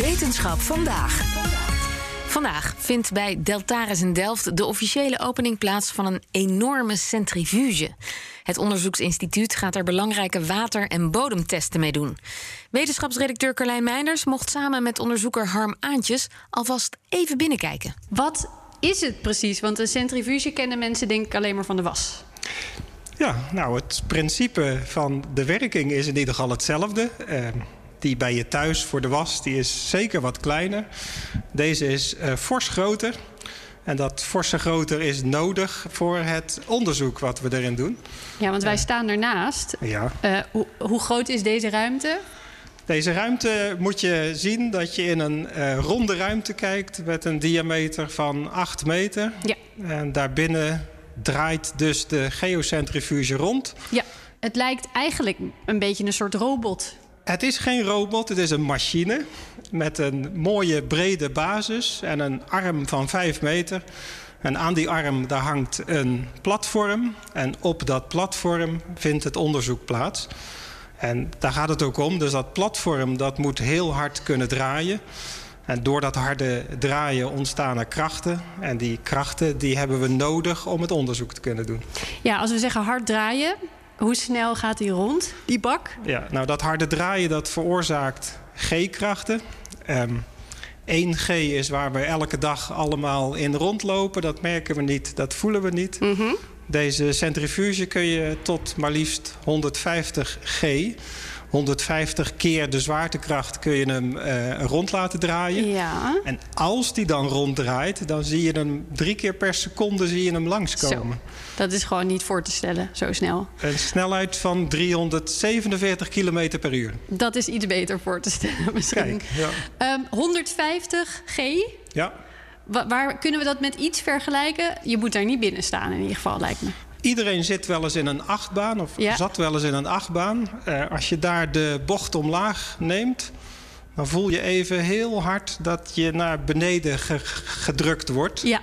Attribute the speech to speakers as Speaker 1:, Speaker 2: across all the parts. Speaker 1: Wetenschap vandaag. Vandaag vindt bij Deltares in Delft de officiële opening plaats van een enorme centrifuge. Het onderzoeksinstituut gaat er belangrijke water- en bodemtesten mee doen. Wetenschapsredacteur Carlijn Meinders mocht samen met onderzoeker Harm Aantjes alvast even binnenkijken.
Speaker 2: Wat is het precies? Want een centrifuge kennen mensen denk ik alleen maar van de was.
Speaker 3: Ja, nou het principe van de werking is in ieder geval hetzelfde. Uh, die bij je thuis voor de was, die is zeker wat kleiner. Deze is uh, fors groter. En dat forse groter is nodig voor het onderzoek wat we erin doen.
Speaker 2: Ja, want wij staan ernaast.
Speaker 3: Ja.
Speaker 2: Uh, hoe, hoe groot is deze ruimte?
Speaker 3: Deze ruimte moet je zien dat je in een uh, ronde ruimte kijkt met een diameter van 8 meter.
Speaker 2: Ja.
Speaker 3: En daarbinnen draait dus de geocentrifuge rond.
Speaker 2: Ja, het lijkt eigenlijk een beetje een soort robot.
Speaker 3: Het is geen robot, het is een machine met een mooie brede basis en een arm van 5 meter. En aan die arm daar hangt een platform en op dat platform vindt het onderzoek plaats. En daar gaat het ook om, dus dat platform dat moet heel hard kunnen draaien. En door dat harde draaien ontstaan er krachten. En die krachten die hebben we nodig om het onderzoek te kunnen doen.
Speaker 2: Ja, als we zeggen hard draaien, hoe snel gaat die rond, die bak?
Speaker 3: Ja, nou dat harde draaien dat veroorzaakt G-krachten. Um, 1G is waar we elke dag allemaal in rondlopen. Dat merken we niet, dat voelen we niet.
Speaker 2: Mm -hmm.
Speaker 3: Deze centrifuge kun je tot maar liefst 150 G. 150 keer de zwaartekracht kun je hem uh, rond laten draaien.
Speaker 2: Ja.
Speaker 3: En als die dan ronddraait, dan zie je hem drie keer per seconde zie je hem langskomen.
Speaker 2: Zo. Dat is gewoon niet voor te stellen, zo snel.
Speaker 3: Een snelheid van 347 km per uur.
Speaker 2: Dat is iets beter voor te stellen misschien.
Speaker 3: Kijk, ja.
Speaker 2: um, 150 G?
Speaker 3: Ja.
Speaker 2: Wa waar kunnen we dat met iets vergelijken? Je moet daar niet binnen staan in ieder geval, lijkt me.
Speaker 3: Iedereen zit wel eens in een achtbaan of
Speaker 2: ja.
Speaker 3: zat wel eens in een achtbaan. Uh, als je daar de bocht omlaag neemt, dan voel je even heel hard dat je naar beneden ge gedrukt wordt.
Speaker 2: Ja.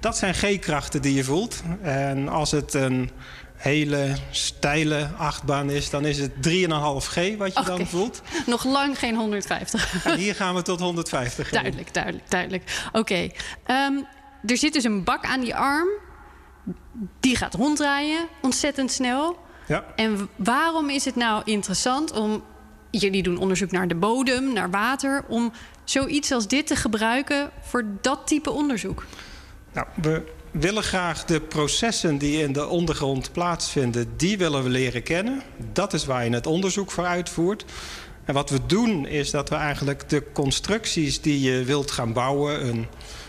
Speaker 3: Dat zijn G-krachten die je voelt. En als het een hele steile achtbaan is, dan is het 3,5G wat je okay. dan voelt.
Speaker 2: Nog lang geen 150.
Speaker 3: En hier gaan we tot 150.
Speaker 2: Duidelijk, in. duidelijk, duidelijk. Oké. Okay. Um, er zit dus een bak aan die arm die gaat ronddraaien ontzettend snel.
Speaker 3: Ja.
Speaker 2: En waarom is het nou interessant om. Jullie doen onderzoek naar de bodem, naar water. om zoiets als dit te gebruiken voor dat type onderzoek?
Speaker 3: Nou, we willen graag de processen die in de ondergrond plaatsvinden. die willen we leren kennen. Dat is waar je het onderzoek voor uitvoert. En wat we doen is dat we eigenlijk de constructies die je wilt gaan bouwen. een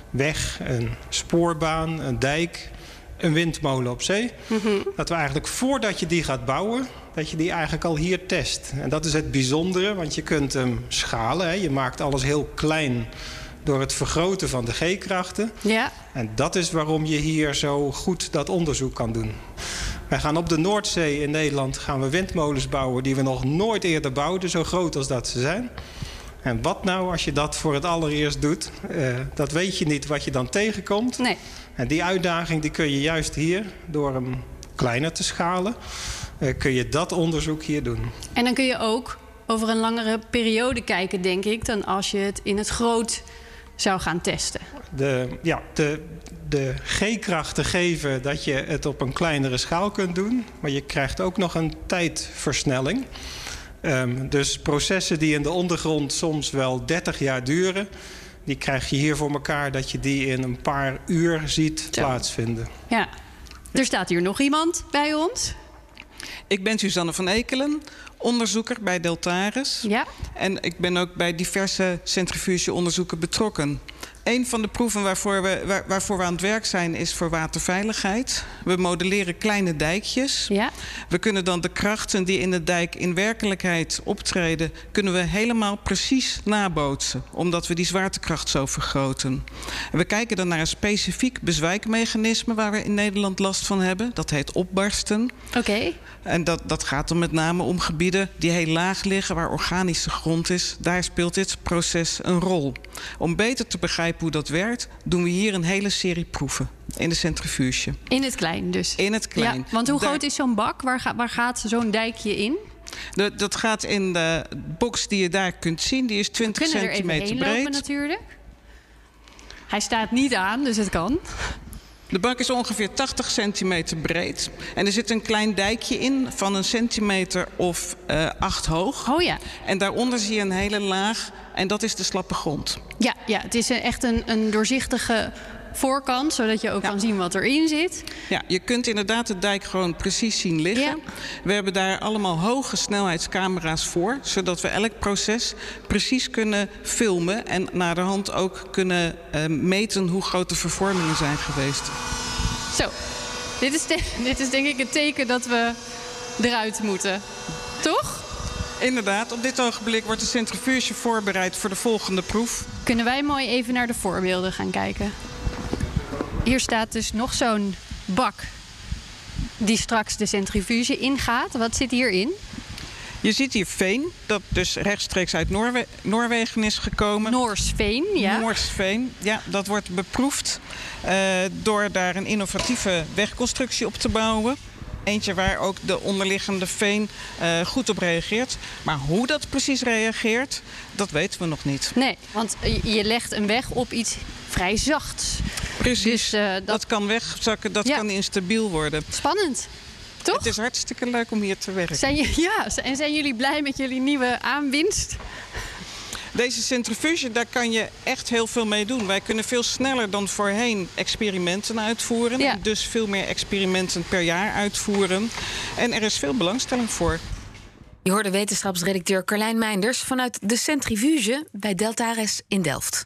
Speaker 3: weg, een spoorbaan, een dijk een windmolen op zee.
Speaker 2: Mm -hmm.
Speaker 3: Dat we eigenlijk voordat je die gaat bouwen, dat je die eigenlijk al hier test. En dat is het bijzondere, want je kunt hem schalen. Hè. Je maakt alles heel klein door het vergroten van de G-krachten.
Speaker 2: Ja.
Speaker 3: En dat is waarom je hier zo goed dat onderzoek kan doen. Wij gaan op de Noordzee in Nederland gaan we windmolens bouwen die we nog nooit eerder bouwden, zo groot als dat ze zijn. En wat nou als je dat voor het allereerst doet? Uh, dat weet je niet wat je dan tegenkomt.
Speaker 2: Nee.
Speaker 3: En die uitdaging die kun je juist hier, door hem kleiner te schalen, uh, kun je dat onderzoek hier doen.
Speaker 2: En dan kun je ook over een langere periode kijken, denk ik, dan als je het in het groot zou gaan testen.
Speaker 3: De, ja, de, de G-krachten geven dat je het op een kleinere schaal kunt doen, maar je krijgt ook nog een tijdversnelling. Um, dus processen die in de ondergrond soms wel 30 jaar duren, die krijg je hier voor elkaar dat je die in een paar uur ziet Zo. plaatsvinden.
Speaker 2: Ja, er staat hier nog iemand bij ons.
Speaker 4: Ik ben Suzanne van Ekelen, onderzoeker bij Deltaris.
Speaker 2: Ja.
Speaker 4: En ik ben ook bij diverse centrifugeonderzoeken betrokken. Een van de proeven waarvoor we, waar- waarvoor we aan het werk zijn is voor waterveiligheid. We modelleren kleine dijkjes.
Speaker 2: Ja.
Speaker 4: We kunnen dan de krachten die in de dijk in werkelijkheid optreden, kunnen we helemaal precies nabootsen, omdat we die zwaartekracht zo vergroten. En we kijken dan naar een specifiek bezwijkmechanisme waar we in Nederland last van hebben. Dat heet opbarsten.
Speaker 2: Oké.
Speaker 4: En dat, dat gaat dan met name om gebieden die heel laag liggen, waar organische grond is. Daar speelt dit proces een rol. Om beter te begrijpen hoe dat werkt, doen we hier een hele serie proeven in de centrifuge.
Speaker 2: In het klein dus.
Speaker 4: In het klein.
Speaker 2: Ja, want hoe
Speaker 4: Daar-
Speaker 2: groot is zo'n bak? Waar, ga- waar gaat zo'n dijkje in?
Speaker 4: De- dat gaat in de box die je daar kunt zien, die is 20
Speaker 2: Kunnen er even
Speaker 4: centimeter
Speaker 2: heen lopen
Speaker 4: breed.
Speaker 2: natuurlijk. Hij staat niet aan, dus het kan.
Speaker 4: De bank is ongeveer 80 centimeter breed. En er zit een klein dijkje in van een centimeter of eh, acht hoog.
Speaker 2: Oh ja.
Speaker 4: En daaronder zie je een hele laag en dat is de slappe grond.
Speaker 2: Ja, ja het is een- echt een, een doorzichtige voorkant, zodat je ook
Speaker 4: Ja.
Speaker 2: kan zien wat erin zit.
Speaker 4: Ja, je kunt inderdaad de dijk gewoon precies zien liggen.
Speaker 2: Ja.
Speaker 4: We hebben daar allemaal hoge snelheidscamera's voor, zodat we elk proces precies kunnen filmen en naderhand ook kunnen eh, meten hoe grote vervormingen zijn geweest.
Speaker 2: Zo, dit is, de- dit is denk ik het teken dat we eruit moeten. Toch?
Speaker 4: Inderdaad, op dit ogenblik wordt de centrifuge voorbereid voor de volgende proef.
Speaker 2: Kunnen wij mooi even naar de voorbeelden gaan kijken. Hier staat dus nog zo'n bak die straks de centrifuge ingaat. Wat zit hierin?
Speaker 4: Je ziet hier veen, dat dus rechtstreeks uit Noorwe- Noorwegen is gekomen.
Speaker 2: Noors veen, ja.
Speaker 4: Moorsveen. Ja, dat wordt beproefd eh, door daar een innovatieve wegconstructie op te bouwen. Eentje waar ook de onderliggende veen eh, goed op reageert. Maar hoe dat precies reageert, dat weten we nog niet.
Speaker 2: Nee, want je- je legt een weg op iets vrij zachts.
Speaker 4: Precies.
Speaker 2: Dus eh, dat,
Speaker 4: dat... kan wegzakken, dat
Speaker 2: Ja.
Speaker 4: kan instabiel worden.
Speaker 2: spannend. Toch?
Speaker 4: Het is hartstikke leuk om hier te werken.
Speaker 2: Zijn, je- ja, z- en zijn jullie blij met jullie nieuwe aanwinst?
Speaker 4: Deze centrifuge, daar kan je echt heel veel mee doen. Wij kunnen veel sneller dan voorheen experimenten uitvoeren.
Speaker 2: Ja.
Speaker 4: En dus veel meer experimenten per jaar uitvoeren. En er is veel belangstelling voor.
Speaker 1: Je hoorde wetenschapsredacteur Carlijn Meinders vanuit de centrifuge bij Deltares in Delft.